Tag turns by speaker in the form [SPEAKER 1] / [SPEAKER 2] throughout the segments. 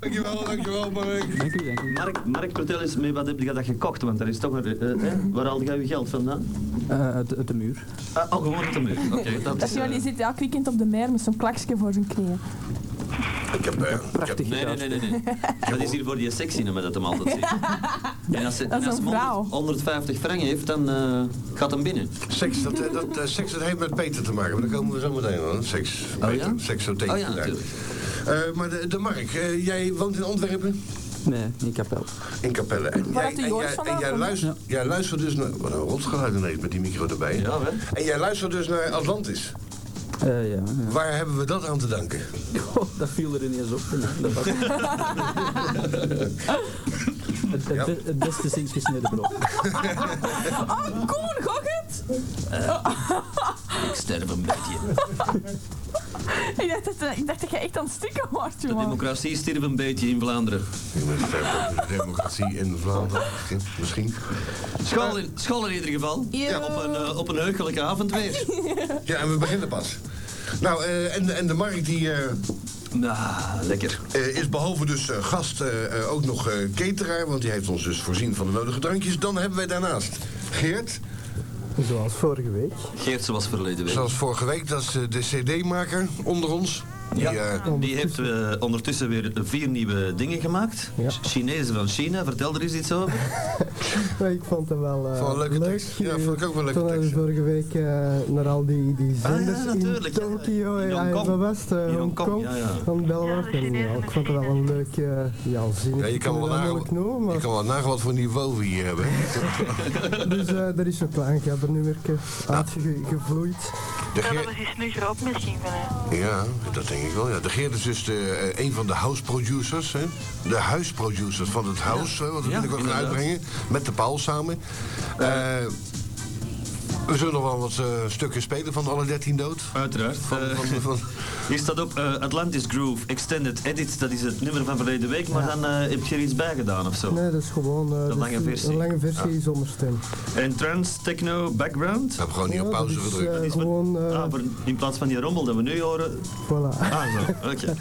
[SPEAKER 1] Dankjewel, dankjewel Mark.
[SPEAKER 2] Dank u, dank u.
[SPEAKER 3] Mark, Mark, vertel eens, met wat heb je dat gekocht? Want daar is toch een... eh, eh, waar haalde jij je geld vandaan?
[SPEAKER 2] Eh, uit, uit de muur.
[SPEAKER 3] Ah, oh, gewoon op de muur. Oké, dat is... eh,
[SPEAKER 4] Jullie zitten elk weekend op de mer met zo'n klaksje voor zijn knieën.
[SPEAKER 1] Ik heb, eh, ik heb
[SPEAKER 2] Prachtig
[SPEAKER 3] Nee, nee, nee, nee, nee. Dat is hier voor die sexy nummer dat hem altijd ziet. En als
[SPEAKER 4] Dat is
[SPEAKER 3] ze, en als
[SPEAKER 4] een
[SPEAKER 3] hem
[SPEAKER 4] vrouw.
[SPEAKER 3] 100 150 frank heeft, dan eh, gaat hem binnen.
[SPEAKER 1] seks, dat, eh, dat, eh, seks dat heeft met Peter te maken, maar daar komen we zo meteen aan. Seks, Peter,
[SPEAKER 3] Oh ja?
[SPEAKER 1] seks zo tegen.
[SPEAKER 3] Oh ja, natuurlijk.
[SPEAKER 1] Eh, maar de, de Mark, eh, jij woont in Antwerpen,
[SPEAKER 2] Nee, in kapel.
[SPEAKER 1] in Capelle. En
[SPEAKER 4] Waar
[SPEAKER 1] jij,
[SPEAKER 4] had de
[SPEAKER 1] en
[SPEAKER 4] Joost
[SPEAKER 1] jij, en
[SPEAKER 4] vandaan
[SPEAKER 1] jij,
[SPEAKER 4] komen?
[SPEAKER 1] luistert, jij luistert dus naar... Wat een rotgeluid ineens met die micro erbij.
[SPEAKER 3] Ja, hè?
[SPEAKER 1] En jij luistert dus naar Atlantis.
[SPEAKER 2] Eh, ja, ja.
[SPEAKER 1] Waar hebben we dat aan te danken?
[SPEAKER 2] Goh, Oh, dat viel er ineens op. Dat was... het, het, be- het beste zinkje is net de brood.
[SPEAKER 4] Oh, Koen, gok het!
[SPEAKER 3] Ik sterf een beetje.
[SPEAKER 4] Ik dacht dat, eh, ik dacht dat jij echt aan het stikken wordt,
[SPEAKER 3] De
[SPEAKER 4] jongen.
[SPEAKER 3] democratie stierf een beetje in Vlaanderen.
[SPEAKER 1] Ik ben het hebben over de democratie in Vlaanderen. Misschien.
[SPEAKER 3] School in, school in ieder geval.
[SPEAKER 4] Ja.
[SPEAKER 3] Op een, eh, op een heugelijke avond weer.
[SPEAKER 1] Ja, en we beginnen pas. Nou, eh, en, en de Mark die eh,
[SPEAKER 3] Nou, lekker.
[SPEAKER 1] eh, is behalve dus eh, gast eh, eh, ook nog eh, cateraar, want die heeft ons dus voorzien van de nodige drankjes. Dan hebben wij daarnaast Geert,
[SPEAKER 5] Zoals vorige week.
[SPEAKER 3] Geert zoals verleden week.
[SPEAKER 1] zoals vorige week, dat is eh, de CD-maker onder ons. Die,
[SPEAKER 3] Ja.
[SPEAKER 1] eh,
[SPEAKER 3] Die heeft eh, ondertussen weer vier nieuwe dingen gemaakt.
[SPEAKER 5] Ja.
[SPEAKER 3] Chinezen van China, vertel er eens iets over.
[SPEAKER 5] Maar ik vond het wel eh,
[SPEAKER 1] Vond een leuke
[SPEAKER 5] leuk.
[SPEAKER 1] tekst. Ja, vond ik ook wel een leuke
[SPEAKER 5] Toen we
[SPEAKER 1] tekst, ja. Ah,
[SPEAKER 5] vorige week eh, naar al die, die
[SPEAKER 3] ja,
[SPEAKER 5] zenders in
[SPEAKER 3] natuurlijk, ja.
[SPEAKER 5] Tokio,
[SPEAKER 3] In
[SPEAKER 5] ja,
[SPEAKER 3] Hongkong.
[SPEAKER 5] waar was het? Eh,
[SPEAKER 3] In Hongkong,
[SPEAKER 5] Hongkong,
[SPEAKER 3] ja, ja.
[SPEAKER 5] van Belwacht. En ja, ik vond het wel een leuk, eh ja, zinnig.
[SPEAKER 1] ja, je kan wel nagaan
[SPEAKER 5] moeilijk noemen,
[SPEAKER 1] je
[SPEAKER 5] maar
[SPEAKER 1] kan wel nagaan wat voor niveau we hier hebben.
[SPEAKER 5] dus eh er is ook lang nummerke uitgevloeid.
[SPEAKER 1] De
[SPEAKER 6] Ja, dat
[SPEAKER 1] Geert,
[SPEAKER 6] is een snuggere opmerking van hem.
[SPEAKER 1] ja, dat denk ik wel. Ja. De Geert is dus de, eh, een van de house producers. Hè? De huisproducers van het house, hè, wat we
[SPEAKER 3] Ja,
[SPEAKER 1] binnenkort gaan
[SPEAKER 3] inderdaad.
[SPEAKER 1] uitbrengen. Met de Paul samen. Eh, we zullen nog wel wat eh, stukken spelen van alle 13 dood.
[SPEAKER 3] Uiteraard.
[SPEAKER 1] Van,
[SPEAKER 3] Eh,
[SPEAKER 1] van, van,
[SPEAKER 3] Hier staat op eh, Atlantis Groove Extended Edit. Dat is het nummer van verleden week, maar dan eh, heb je er iets bij gedaan of zo.
[SPEAKER 5] Nee, dat is gewoon eh, dus
[SPEAKER 3] lange versie.
[SPEAKER 5] een lange versie zonder stem.
[SPEAKER 3] En trance techno background.
[SPEAKER 1] ik heb gewoon niet
[SPEAKER 5] Ja,
[SPEAKER 1] op
[SPEAKER 5] dat
[SPEAKER 1] pauze
[SPEAKER 5] is,
[SPEAKER 1] gedrukt.
[SPEAKER 5] eh,
[SPEAKER 3] Is wat-
[SPEAKER 5] gewoon, eh,
[SPEAKER 3] ah, maar in plaats van die rommel dat we nu horen.
[SPEAKER 5] voilà.
[SPEAKER 3] Ah, zo. Oké.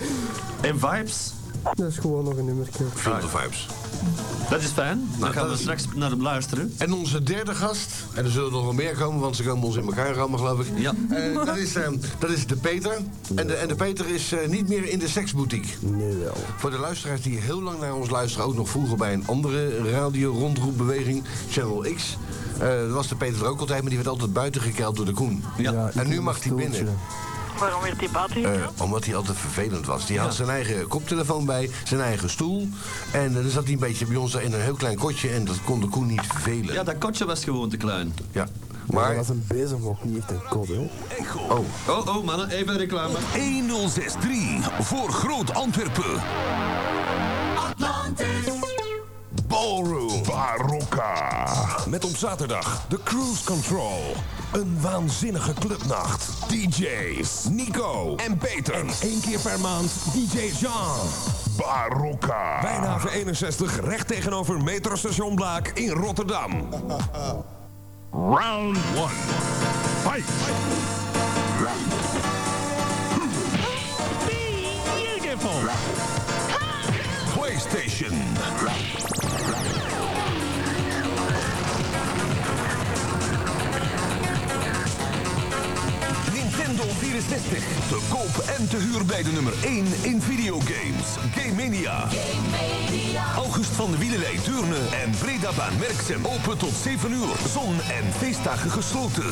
[SPEAKER 3] En vibes.
[SPEAKER 5] Dat is gewoon nog een nummerke.
[SPEAKER 1] Feel the vibes.
[SPEAKER 3] Nou, Dat is fijn. Dan
[SPEAKER 1] dat
[SPEAKER 3] gaan we
[SPEAKER 1] is-
[SPEAKER 3] straks naar hem luisteren.
[SPEAKER 1] En onze derde gast, en er zullen nog wel meer komen, want ze komen ons in elkaar rammen, geloof ik.
[SPEAKER 3] Ja.
[SPEAKER 1] Eh, dat, is, eh, dat is de Peter. En de, en de Peter is eh, niet meer in de seksboutique.
[SPEAKER 5] Nee wel.
[SPEAKER 1] Voor de luisteraars die heel lang naar ons luisteren, ook nog vroeger bij een andere radio-rondroepbeweging, Channel X. eh, was de Peter er ook altijd, maar die werd altijd buiten gekeld door de Koen.
[SPEAKER 3] Ja.
[SPEAKER 5] Ja, ik
[SPEAKER 1] en nu
[SPEAKER 5] heb
[SPEAKER 1] mag
[SPEAKER 5] een
[SPEAKER 1] hij binnen.
[SPEAKER 5] stoeltje.
[SPEAKER 6] Waarom werd die buiten
[SPEAKER 1] Eh,
[SPEAKER 6] gekomen?
[SPEAKER 1] omdat hij altijd vervelend was. Die had zijn eigen koptelefoon bij, zijn eigen stoel. En eh, dan zat hij een beetje bij ons in een heel klein kotje en dat kon de Koen niet vervelen.
[SPEAKER 3] Ja, dat kotje was gewoon te klein.
[SPEAKER 1] Ja.
[SPEAKER 7] Maar
[SPEAKER 1] Maar,
[SPEAKER 7] dat was een bezem ook niet echt een kot, hoor.
[SPEAKER 1] oh,
[SPEAKER 3] Oh, oh mannen, even reclame.
[SPEAKER 8] 1063 voor Groot Antwerpen. Ballroom Barocca. Met op zaterdag de Cruise Control. Een waanzinnige clubnacht. DJ's Nico en Peter. En één keer per maand DJ Jean. Barocca. Wijnhaven 61 recht tegenover metrostation Blaak in Rotterdam. Round 1. Fight.
[SPEAKER 9] Beautiful.
[SPEAKER 8] PlayStation. Nintendo 64. Te koop en te huur bij de nummer 1 in videogames. Game Mania. August van de Wielerlei Deurne en Breda Baan Merksem. Open tot 7 uur. Zon en feestdagen gesloten.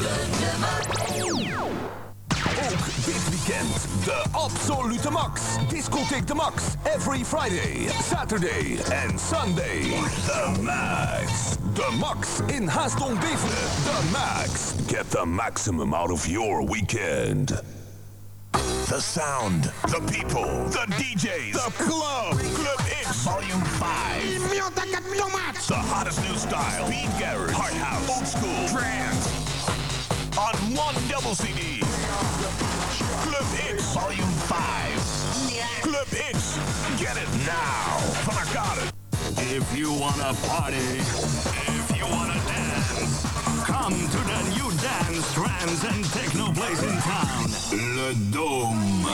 [SPEAKER 8] Ook dit weekend de absolute max. Discotheek de max. Every Friday, Saturday en Sunday. The max. De max in Haasdong Beveren. The max. Get the maximum out of your weekend. The sound, the people, the DJs, the club. Club X Volume 5. The hottest new style. Speed garage, hard house, old school, trance. On one double CD. Club X Volume 5. Club X. Get it now. Van Arcade. If you wanna party, if you wanna dance, come to the new dance, trance and techno place in town. Le Dome.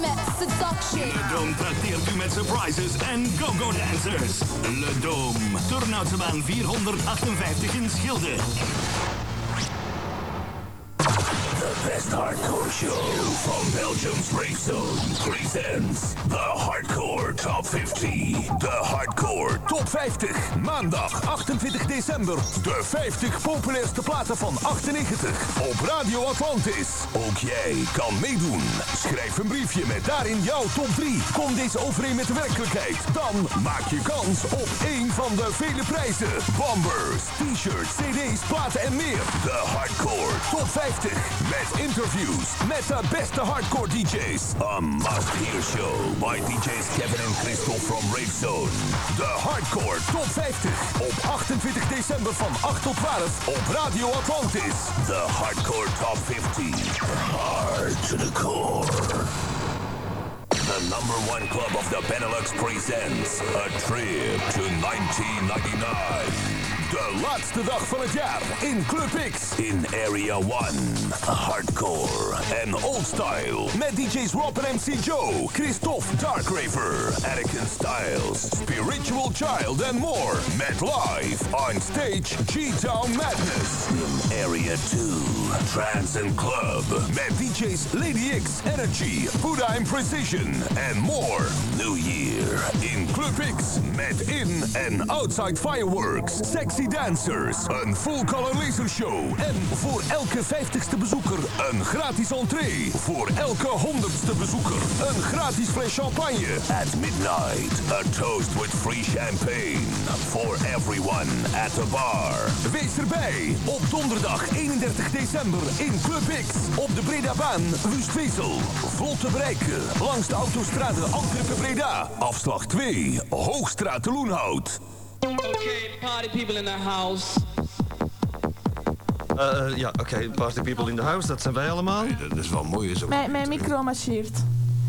[SPEAKER 9] Le Dome trakteert u met surprises en go-go dancers. Le Dome, Turnhoutse baan 458 in Schilde.
[SPEAKER 8] The best hardcore show from Belgium's Brave Zone presents the Hardcore Top 50. De Hardcore Top 50. Maandag 28 december. De 50 populairste platen van 98 op Radio Atlantis. Ook jij kan meedoen. Schrijf een briefje met daarin jouw top 3. Kom deze overeen met de werkelijkheid. Dan maak je kans op één van de vele prijzen. Bombers, t-shirts, cd's, platen en meer. De Hardcore Top 50. Met interviews met de beste hardcore DJ's. A must-hear show by DJ's Kevin en Christophe from Rave Zone. De Hardcore Top 50. Op 28 december van 8 tot 12 op Radio Atlantis. De Hardcore Top 50. Hard to the core. The number one club of the Benelux presents a trip to 1999. De laatste dag van het jaar in Club X in Area 1. Hardcore en old style met DJ's Rob en MC Joe, Christophe Darkraver, Erican Styles, Spiritual Child and more. Met live on stage G-Town Madness in Area 2. Trance and Club met DJ's Lady X, Energy, Buddha and Precision and more. New Year in Club X met in- en outside fireworks, sexy dancers, een full-color laser show en voor elke 50ste bezoeker een gratis entree. Voor elke 100ste bezoeker een gratis fles champagne. At midnight, a toast with free champagne for everyone at the bar. Wees erbij op donderdag 31 december in Club X op de Bredabaan, Wustwezel. Vlot te bereiken langs de autostrade Antwerpen Breda. Afslag 2, Hoogstraat te Loenhout.
[SPEAKER 10] Okay, party people in the house.
[SPEAKER 3] Eh, eh, ja, oké, party people in the house, dat zijn wij allemaal.
[SPEAKER 1] eh, dat is wel mooi, is ook.
[SPEAKER 4] Mijn, mijn micro marcheert.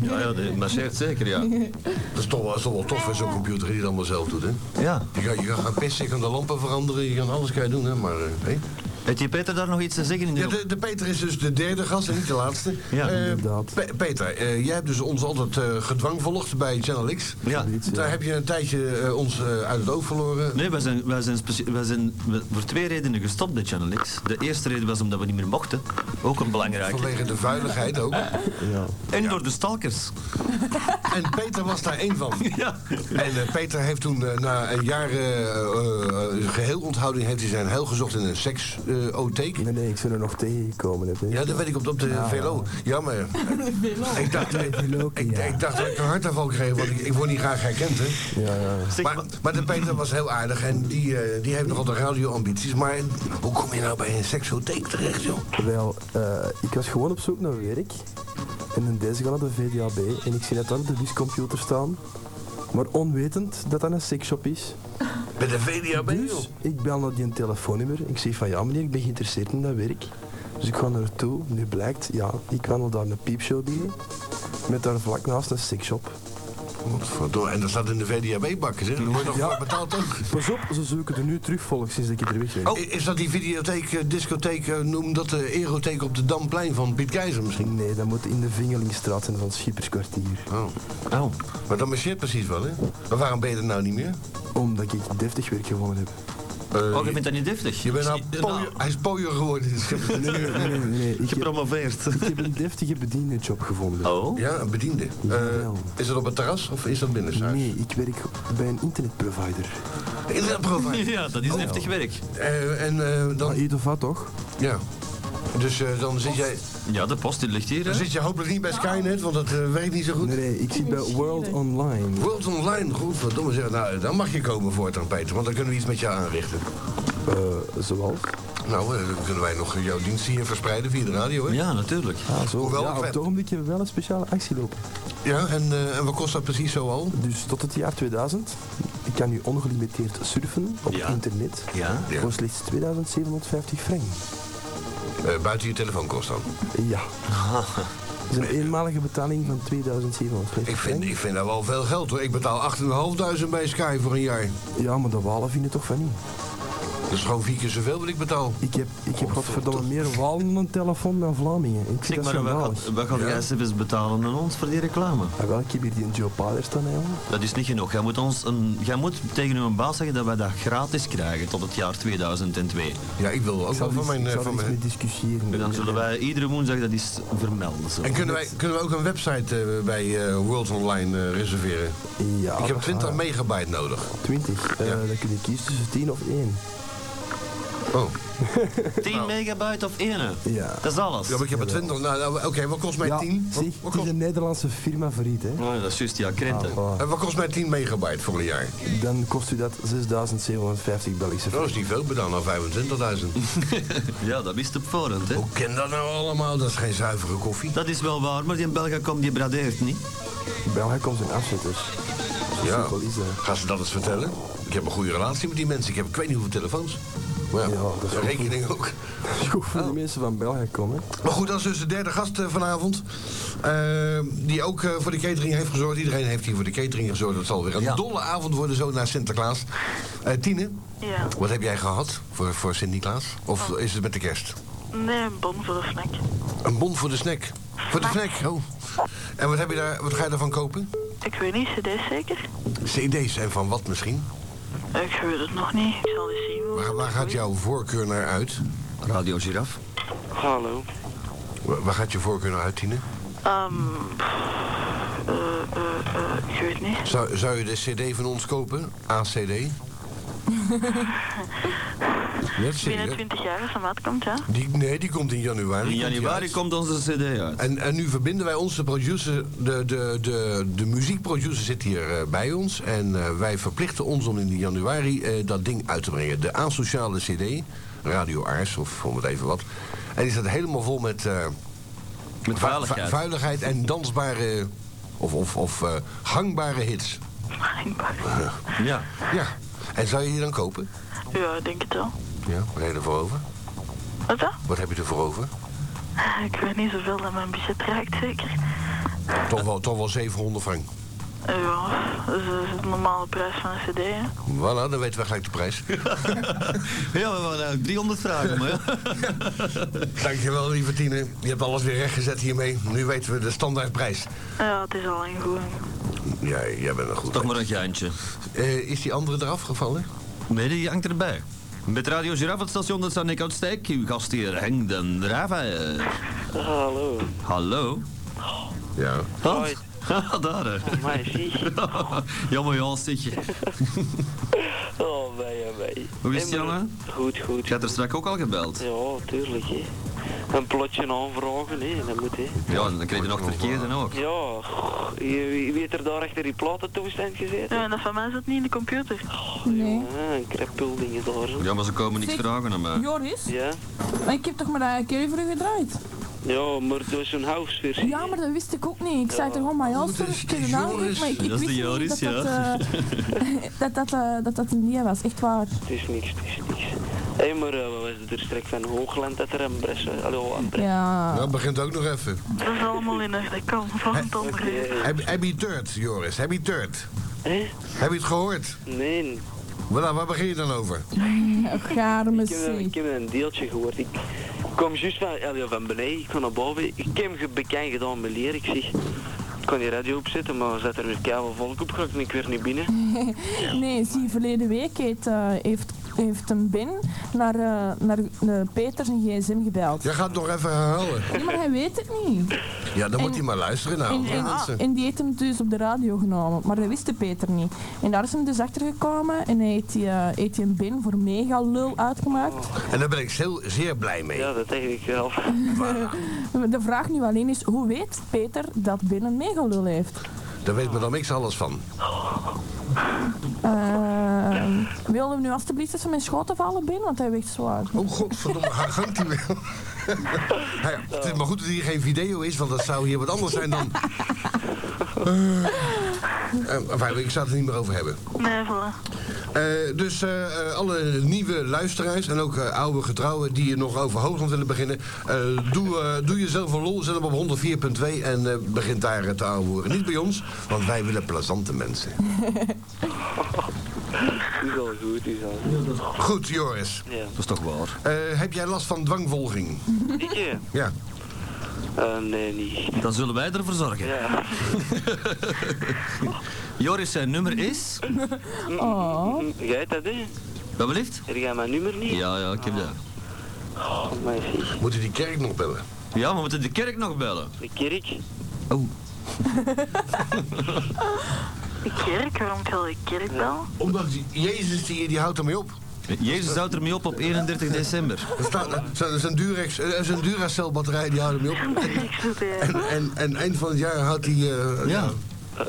[SPEAKER 3] Ja, ja, die marcheert zeker, ja.
[SPEAKER 1] Dat is toch wel, is toch wel tof, hè, zo'n computer die het allemaal zelf doet, hè?
[SPEAKER 3] Ja.
[SPEAKER 1] Je gaat, je gaat gaan pissen, je kan de lampen veranderen, je kan alles kan je doen, hè? Maar, eh, hé.
[SPEAKER 3] Heeft je Peter daar nog iets te zeggen in de...
[SPEAKER 1] Ja, de, de Peter is dus de derde gast en niet de laatste.
[SPEAKER 3] Ja,
[SPEAKER 1] Eh,
[SPEAKER 7] inderdaad.
[SPEAKER 1] Pe- Peter, eh, jij hebt dus ons altijd eh, gedwang volgd bij Channel X.
[SPEAKER 3] Ja.
[SPEAKER 1] Daar heb je een tijdje eh, ons eh, uit het oog verloren.
[SPEAKER 3] Nee, wij zijn, wij, zijn specie- wij zijn we- voor twee redenen gestopt bij Channel X. De eerste reden was omdat we niet meer mochten. Ook een belangrijke.
[SPEAKER 1] Vanwege de vuiligheid ook.
[SPEAKER 3] En door de stalkers.
[SPEAKER 1] En Peter was daar één van.
[SPEAKER 3] Ja.
[SPEAKER 1] En eh, Peter heeft toen eh, na een jaar eh, eh, geheel onthouding heeft hij zijn heil gezocht in een seksotheek.
[SPEAKER 7] Nee, nee, ik ben er nog tegengekomen. Heb ik.
[SPEAKER 1] ja, dat weet ik op, op de
[SPEAKER 7] Nou,
[SPEAKER 1] VLO. Jammer. Ik dacht, ik, ik, ik dacht dat ik een hartaanval kreeg, want ik, ik word niet graag herkend. Hè.
[SPEAKER 7] Ja, ja.
[SPEAKER 3] Zeg,
[SPEAKER 1] Maar, maar de Peter was heel aardig en die, eh, die heeft nogal de radioambities. Maar hoe kom je nou bij een seksotheek terecht, joh?
[SPEAKER 7] Wel, eh, ik was gewoon op zoek naar werk. En in deze gaan de VDAB. En ik zie net daar de wiscomputer staan. Maar onwetend dat dat een sexshop is.
[SPEAKER 1] Bij de VDAB, joh.
[SPEAKER 7] Dus ik bel naar die telefoonnummer. Ik zeg van ja meneer, ik ben geïnteresseerd in dat werk. Dus ik ga naartoe. Nu blijkt, ja, ik wandel daar een piepshow binnen. Met daar vlak naast een sexshop.
[SPEAKER 1] Godverdomme, En dat staat in de VDAB-bak, hè? Dan word je nog
[SPEAKER 7] Ja.
[SPEAKER 1] voor betaald ook.
[SPEAKER 7] Pas op, ze zoeken er nu terug volgens sinds dat ik er weg ben.
[SPEAKER 1] I- Is dat die videotheek, eh, discotheek, eh, noem dat de erotheek op de Damplein van Piet Keizer misschien?
[SPEAKER 7] Nee, dat moet in de Vingelingstraat zijn van het Schipperskwartier.
[SPEAKER 1] Oh.
[SPEAKER 3] Oh,
[SPEAKER 1] Maar dat marcheert precies wel, hè? Maar waarom ben je er nou niet meer?
[SPEAKER 7] Omdat ik deftig werk gewonnen heb.
[SPEAKER 1] Eh,
[SPEAKER 3] oh je bent dat niet deftig.
[SPEAKER 1] je bent nou
[SPEAKER 3] Eh,
[SPEAKER 1] pooier- hij is pooier geworden.
[SPEAKER 7] Nee, nee, nee. nee. Ik, heb,
[SPEAKER 3] Gepromoveerd.
[SPEAKER 7] ik heb een deftige bediendenjob gevonden.
[SPEAKER 3] Oh?
[SPEAKER 1] Ja, een bediende. Eh, is dat op het terras of is dat binnen?
[SPEAKER 7] Nee, ik werk bij een internetprovider.
[SPEAKER 1] Internetprovider.
[SPEAKER 3] Ja, dat is heftig werk.
[SPEAKER 1] Eh, en eh,
[SPEAKER 7] Ah,
[SPEAKER 1] dan...
[SPEAKER 7] eet of wat toch?
[SPEAKER 1] Ja. Dus eh, dan zit jij,
[SPEAKER 3] Ja, de post die ligt hier.
[SPEAKER 1] dan
[SPEAKER 3] Hè?
[SPEAKER 1] zit je hopelijk niet bij Skynet, want dat eh, werkt niet zo goed.
[SPEAKER 7] Nee, nee, ik zit bij World Online.
[SPEAKER 1] World Online, godverdomme zeg. Nou, dan mag je komen voortaan, Peter, want dan kunnen we iets met jou aanrichten.
[SPEAKER 7] Eh, zoals?
[SPEAKER 1] Nou, eh, dan kunnen wij nog jouw dienst hier verspreiden via de radio, hè?
[SPEAKER 3] Ja, natuurlijk.
[SPEAKER 7] Ah, zo.
[SPEAKER 1] Hoewel,
[SPEAKER 7] ja, op
[SPEAKER 1] we-
[SPEAKER 7] het ogenblik hebben we wel een speciale actie lopen.
[SPEAKER 1] Ja, en, eh, en wat kost dat precies zo al?
[SPEAKER 7] Dus tot het jaar 2000 kan u ongelimiteerd surfen op
[SPEAKER 3] Ja.
[SPEAKER 7] het internet
[SPEAKER 3] Ja.
[SPEAKER 1] Ja.
[SPEAKER 7] voor slechts 2750 frank.
[SPEAKER 1] Eh, buiten je telefoonkost dan.
[SPEAKER 7] Ja. Dat is een eenmalige betaling van 2750
[SPEAKER 1] Ik vind,
[SPEAKER 7] frank.
[SPEAKER 1] ik vind dat wel veel geld hoor. Ik betaal 8.500 bij Sky voor een jaar.
[SPEAKER 7] Ja, maar de walen vinden toch van niet.
[SPEAKER 1] Dat is gewoon vier keer zoveel wat ik betaal.
[SPEAKER 7] Ik heb, ik heb godverdomme meer Walen dan een telefoon dan Vlamingen. Ik vind
[SPEAKER 3] Zeg
[SPEAKER 7] dat
[SPEAKER 3] maar, we gaan,
[SPEAKER 7] schandalig.
[SPEAKER 3] we gaan jij eens betalen aan ons voor die reclame.
[SPEAKER 7] Ah, wel, ik heb hier die Joe Paler staan, hè, jongen.
[SPEAKER 3] Dat is niet genoeg. Jij moet, ons een, jij moet tegen uw baas zeggen dat wij dat gratis krijgen tot het jaar 2002.
[SPEAKER 1] Ja, ik wil ook
[SPEAKER 7] Ik zal
[SPEAKER 1] wel van mijn...
[SPEAKER 7] iets- Dus ik
[SPEAKER 1] eh, van
[SPEAKER 7] zal iets
[SPEAKER 1] mijn-
[SPEAKER 7] mee discussiëren.
[SPEAKER 3] En dan zullen wij iedere woensdag dat eens vermelden. Zo.
[SPEAKER 1] En kunnen, wij, kunnen we ook een website eh, bij eh, World Online eh, reserveren?
[SPEAKER 7] Ja,
[SPEAKER 1] ik heb
[SPEAKER 7] dat
[SPEAKER 1] 20
[SPEAKER 7] gaat.
[SPEAKER 1] megabyte nodig.
[SPEAKER 7] 20. Eh, Dan kun je kiezen tussen 10 of 1.
[SPEAKER 1] Oh,
[SPEAKER 3] 10 megabyte of 1?
[SPEAKER 7] Ja.
[SPEAKER 3] Dat is alles.
[SPEAKER 1] ja, maar ik heb er 20. Nou, nou, oké, wat kost mij
[SPEAKER 7] ja,
[SPEAKER 1] 10? Wat,
[SPEAKER 7] zie,
[SPEAKER 1] wat
[SPEAKER 7] het is
[SPEAKER 1] kost,
[SPEAKER 7] een Nederlandse firma failliet, hè.
[SPEAKER 3] Oh, dat is juist, ja, krenten.
[SPEAKER 7] Ah,
[SPEAKER 1] eh, wat kost mij 10 megabyte voor een jaar?
[SPEAKER 7] dan kost u dat 6.750 Belgische
[SPEAKER 1] Dat is niet veel, nou maar dan al 25.000.
[SPEAKER 3] Ja, dat wist op voorhand, hè.
[SPEAKER 1] Hoe ken dat nou allemaal? Dat is geen zuivere koffie.
[SPEAKER 3] Dat is wel waar, maar die Belga komt, die bradeert niet.
[SPEAKER 7] België komt dus. zijn afzetters.
[SPEAKER 1] Ja.
[SPEAKER 7] Simpel is dat.
[SPEAKER 1] Gaan ze dat eens vertellen? Ik heb een goede relatie met die mensen. Ik heb ik weet niet hoeveel telefoons. Maar ja,
[SPEAKER 7] Ja, dat is wel
[SPEAKER 1] rekening ook. Oh.
[SPEAKER 7] Goed voor de mensen van België komen.
[SPEAKER 1] Maar goed, dat is dus de derde gast eh, vanavond. Eh, die ook eh, voor de catering heeft gezorgd. Iedereen heeft hier voor de catering gezorgd. Dat zal weer een
[SPEAKER 3] Ja.
[SPEAKER 1] dolle avond worden zo naar Sinterklaas. Eh, Tine,
[SPEAKER 6] Ja.
[SPEAKER 1] wat heb jij gehad voor, voor Sinterklaas? Of is het met de kerst?
[SPEAKER 6] Nee, een bon voor de snack.
[SPEAKER 1] Een bon voor de snack. Voor de snack, oh. En wat, heb je daar, wat ga je daarvan kopen?
[SPEAKER 6] Ik weet niet, cd's zeker?
[SPEAKER 1] CD's en van wat misschien?
[SPEAKER 6] Ik weet het nog niet. Ik zal eens zien.
[SPEAKER 1] Waar, waar gaat jouw voorkeur naar uit?
[SPEAKER 3] Radio Giraf.
[SPEAKER 8] Hallo.
[SPEAKER 1] Waar, waar gaat je voorkeur naar uit, Tine?
[SPEAKER 6] Ehm, pff, eh, eh, eh, ik weet niet.
[SPEAKER 1] Zou, zou je de cd van ons kopen? ACD? Net
[SPEAKER 6] Binnen
[SPEAKER 1] cd.
[SPEAKER 6] 20 jaar als de maat komt, ja.
[SPEAKER 1] Die, nee, die komt in januari.
[SPEAKER 3] In
[SPEAKER 1] komt die
[SPEAKER 3] januari
[SPEAKER 1] uit.
[SPEAKER 3] komt onze cd uit.
[SPEAKER 1] En, en nu verbinden wij onze producer, de, de, de, de muziekproducer zit hier eh, bij ons. En eh, wij verplichten ons om in januari eh, dat ding uit te brengen. De asociale cd, Radio Aars of om het even wat. En die staat helemaal vol met... eh,
[SPEAKER 3] Met
[SPEAKER 1] vu-
[SPEAKER 3] veiligheid.
[SPEAKER 1] vu- vuiligheid en dansbare... Of, of, of eh, gangbare hits.
[SPEAKER 6] Dankbaar.
[SPEAKER 3] Ja.
[SPEAKER 1] Ja. En zou je die dan kopen?
[SPEAKER 6] Ja, ik denk het wel.
[SPEAKER 1] Ja. Wat heb je ervoor over?
[SPEAKER 6] Wat dan? Eh,
[SPEAKER 1] Wat heb je ervoor over?
[SPEAKER 6] Ik weet niet zoveel dat mijn budget raakt, zeker.
[SPEAKER 1] Toch wel, toch wel 700 frank.
[SPEAKER 6] Eh, Ja, dat is eh, de normale prijs van een cd, hè.
[SPEAKER 1] Voilà, dan weten we gelijk de prijs.
[SPEAKER 3] Ja, we waren eigenlijk 300 vragen, maar ja.
[SPEAKER 1] Dankjewel, lieve Tine. Je hebt alles weer rechtgezet hiermee. Nu weten we de standaardprijs.
[SPEAKER 6] Ja, het is al lang goed.
[SPEAKER 1] Ja, jij bent een goed.
[SPEAKER 3] Toch maar een geintje.
[SPEAKER 1] Eh, is die andere eraf gevallen?
[SPEAKER 3] Nee, die hangt erbij. Met Radio Giraf, het station, dat zijn ik uitsteek. Uw gastheer Henk den Rava.
[SPEAKER 8] Hallo.
[SPEAKER 3] Hallo.
[SPEAKER 1] Ja.
[SPEAKER 3] Hans.
[SPEAKER 8] Hoi.
[SPEAKER 3] Haha, Daar, hè.
[SPEAKER 8] Oh, mij zie.
[SPEAKER 3] Jammer, Jans, zit je.
[SPEAKER 8] Oh, mij, oh, mij.
[SPEAKER 3] Hoe is het,
[SPEAKER 8] Hey, maar-
[SPEAKER 3] Janne?
[SPEAKER 8] Goed, goed.
[SPEAKER 3] Je had er straks ook al gebeld.
[SPEAKER 8] Ja, tuurlijk, hè. Een plotje aanvragen, hè. Dat moet, hè.
[SPEAKER 3] Ja, en dan kreeg je nog verkeerde ook.
[SPEAKER 8] Ja, je, wie wie heeft er daar achter die platentoestand gezeten?
[SPEAKER 6] Ja, en dat van mij zit niet in de computer.
[SPEAKER 11] Nee.
[SPEAKER 8] Ah, een krap dingen daar, zo.
[SPEAKER 3] Ja, maar ze komen niks
[SPEAKER 11] Zeg-
[SPEAKER 3] vragen aan mij.
[SPEAKER 11] Joris,
[SPEAKER 8] Ja?
[SPEAKER 11] maar ik heb toch maar eh, een keer voor u gedraaid?
[SPEAKER 8] Ja, maar door zo'n houseversie.
[SPEAKER 11] Ja, maar dat wist ik ook niet. Ik zei toch gewoon maar ja,
[SPEAKER 1] dat is
[SPEAKER 11] sorry, ik heb
[SPEAKER 1] die
[SPEAKER 11] een
[SPEAKER 1] Joris.
[SPEAKER 11] naam, maar ik, ik
[SPEAKER 3] Dat is
[SPEAKER 11] wist
[SPEAKER 3] de
[SPEAKER 11] niet
[SPEAKER 3] Joris,
[SPEAKER 11] dat dat, eh, dat, dat, eh, dat dat een die was. Echt waar.
[SPEAKER 8] Het is niks, het is niks. Hé, maar eh, wat was het er straks van Hoogland dat er een bres... Hallo, een bres.
[SPEAKER 11] Ja.
[SPEAKER 1] Dat Nou, begint ook nog even.
[SPEAKER 6] Dat is allemaal in de kom van het andere uur.
[SPEAKER 8] Oké.
[SPEAKER 1] Heb, heb je het gehoord, Joris? Heb je het gehoord?
[SPEAKER 8] Hé?
[SPEAKER 1] Heb je het gehoord?
[SPEAKER 8] Nee.
[SPEAKER 1] Voilà, waar begin je dan over?
[SPEAKER 11] Gaar
[SPEAKER 8] Ik heb, een- ik
[SPEAKER 11] missie.
[SPEAKER 8] heb een deeltje gehoord. Ik kom juist van, allee, van beneden, ik kon naar boven. Ik heb hem ge- bekend gedaan met leer. Ik zeg, ik kon die radio opzetten, maar er zat er weer kabel volk op en ik werd niet binnen.
[SPEAKER 11] Nee, zie, verleden week heeft, eh, heeft, heeft een Ben naar, eh, naar eh, Peter zijn gsm gebeld.
[SPEAKER 1] Jij gaat het nog even herhalen.
[SPEAKER 11] Nee, maar hij weet het niet.
[SPEAKER 1] Ja, dan moet
[SPEAKER 11] En-
[SPEAKER 1] hij maar luisteren nou.
[SPEAKER 11] En, en,
[SPEAKER 1] mensen.
[SPEAKER 11] en die heeft hem dus op de radio genomen, maar dat wist de Peter niet. En daar is hem dus achter gekomen en hij heeft die, eh, heeft die een bin voor mega lul uitgemaakt.
[SPEAKER 1] En daar ben ik heel, zeer blij mee.
[SPEAKER 8] Ja, dat eigenlijk wel.
[SPEAKER 11] De vraag nu alleen is, hoe weet Peter dat Ben een mega lul heeft?
[SPEAKER 1] Daar weet me dan niks alles van.
[SPEAKER 11] Ehm wil hem nu alstublieft eens van mijn schoten vallen, Ben? Want hij weegt zwaar.
[SPEAKER 1] Oh godverdomme, hij hangt hij wel. Nou ja, het is maar goed dat hier geen video is, want dat zou hier wat anders zijn dan... Eh, eh, enfin, ik zou het er niet meer over hebben.
[SPEAKER 6] Nee, voilà.
[SPEAKER 1] Eh, dus eh, eh, alle nieuwe luisteraars en ook eh, oude getrouwen die hier nog over Hoogland willen beginnen, eh, doe, eh, doe jezelf een lol, zet hem op 104.2 en eh, begin daar eh, te aanhoren. Niet bij ons, want wij willen plezante mensen.
[SPEAKER 8] is al goed, is al goed.
[SPEAKER 1] Goed, Joris.
[SPEAKER 8] Ja.
[SPEAKER 3] Dat is toch waar.
[SPEAKER 1] Eh, heb jij last van dwangvolging?
[SPEAKER 8] Ik, eh,
[SPEAKER 1] Ja.
[SPEAKER 8] eh, nee, niet.
[SPEAKER 3] Dan zullen wij ervoor zorgen.
[SPEAKER 8] Ja.
[SPEAKER 3] Joris, zijn nummer is...
[SPEAKER 11] Oh.
[SPEAKER 8] Jij hebt dat, hè?
[SPEAKER 3] Wat belieft?
[SPEAKER 8] Heb jij mijn nummer niet?
[SPEAKER 3] Ja, ja, ik heb dat.
[SPEAKER 8] Oh, maar zeg.
[SPEAKER 1] Moet je die kerk nog bellen?
[SPEAKER 3] Ja, we moeten de kerk nog bellen.
[SPEAKER 8] De kerk?
[SPEAKER 3] Oh.
[SPEAKER 6] De kerk, waarom wil de kerk wel?
[SPEAKER 1] Omdat die- Jezus, die, die houdt ermee op.
[SPEAKER 3] Jezus houdt ermee op op 31 december.
[SPEAKER 1] Dat staat- Dat is een Durex, eh, dat is een Duracell batterij, die houdt ermee op.
[SPEAKER 6] Niks erbij.
[SPEAKER 1] En, en, en eind van het jaar houdt hij... eh, ja.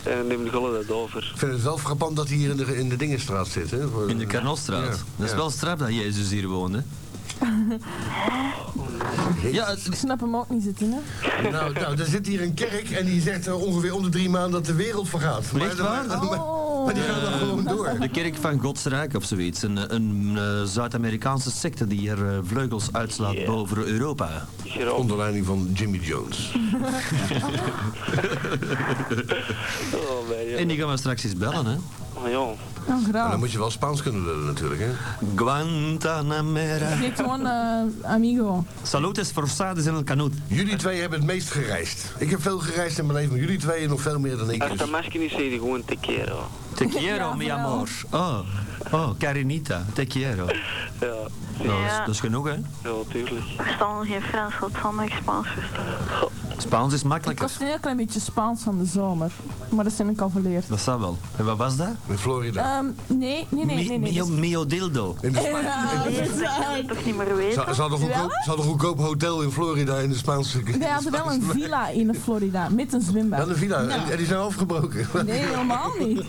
[SPEAKER 8] Eh, En neem de gollen dat over.
[SPEAKER 1] Ik vind het wel frappant dat hij hier in de, in de Dingenstraat zit. Hè? Voor-
[SPEAKER 3] In de Karnolstraat.
[SPEAKER 1] Ja,
[SPEAKER 3] Dat is
[SPEAKER 1] ja.
[SPEAKER 3] wel straf dat Jezus hier woonde. Ja, het-
[SPEAKER 11] Ik snap hem ook niet zitten, hè?
[SPEAKER 1] Nou, nou, er zit hier een kerk en die zegt eh, ongeveer om de drie maanden dat de wereld vergaat. Maar,
[SPEAKER 3] Echt waar?
[SPEAKER 1] maar- maar-
[SPEAKER 11] Oh.
[SPEAKER 1] maar die gaan dan gewoon door.
[SPEAKER 3] de kerk van Gods Rijk of zoiets. Een, een eh, Zuid-Amerikaanse secte die er eh, vleugels uitslaat boven Europa.
[SPEAKER 8] Gerard.
[SPEAKER 1] Onder leiding van Jimmy Jones.
[SPEAKER 8] Oh, mijn
[SPEAKER 3] En
[SPEAKER 8] jongen.
[SPEAKER 3] die gaan we straks eens bellen, hè.
[SPEAKER 8] Oh, jongen.
[SPEAKER 11] Nou,
[SPEAKER 1] Maar
[SPEAKER 11] graag.
[SPEAKER 1] dan moet je wel Spaans kunnen lullen natuurlijk, hè?
[SPEAKER 3] Guantanamera.
[SPEAKER 11] Nee, gewoon eh, amigo.
[SPEAKER 3] Salutes forçades en el canut.
[SPEAKER 1] Jullie twee hebben het meest gereisd. Ik heb veel gereisd in mijn leven, maar jullie twee nog veel meer dan ik. dus-
[SPEAKER 8] Als dat masker niet zit, gewoon te keer, hoor.
[SPEAKER 3] Te quiero, mi amor. Oh, oh, carinita. Te quiero. Nou,
[SPEAKER 8] Ja,
[SPEAKER 3] dat, is,
[SPEAKER 6] Ja.
[SPEAKER 3] dat is genoeg, hè.
[SPEAKER 8] ja, tuurlijk.
[SPEAKER 6] Ik versta nog geen Frans, wat zal nog Spaans verstaan?
[SPEAKER 3] Spaans is
[SPEAKER 11] Ik
[SPEAKER 3] makkelijker.
[SPEAKER 11] was een heel klein beetje Spaans van de zomer. Maar dat zijn ik al verleerd.
[SPEAKER 3] Dat zou wel. En wat was dat?
[SPEAKER 1] In Florida.
[SPEAKER 11] Ehm, nee, nee, nee, nee. nee.
[SPEAKER 3] Mio,
[SPEAKER 11] dat is-
[SPEAKER 3] mio dildo.
[SPEAKER 1] In de Spa-
[SPEAKER 11] Ja, dat is
[SPEAKER 6] Dat kan ik
[SPEAKER 11] waar.
[SPEAKER 6] toch niet meer weten?
[SPEAKER 1] Ze ze hadden een goedkoop- ze hadden een goedkoop hotel in Florida in de Spaanse...
[SPEAKER 11] Wij hadden wel een villa in Florida, met een
[SPEAKER 1] Wel
[SPEAKER 11] zwembad.
[SPEAKER 1] een villa.
[SPEAKER 11] Ja.
[SPEAKER 1] En, en die zijn afgebroken.
[SPEAKER 11] Nee, helemaal niet.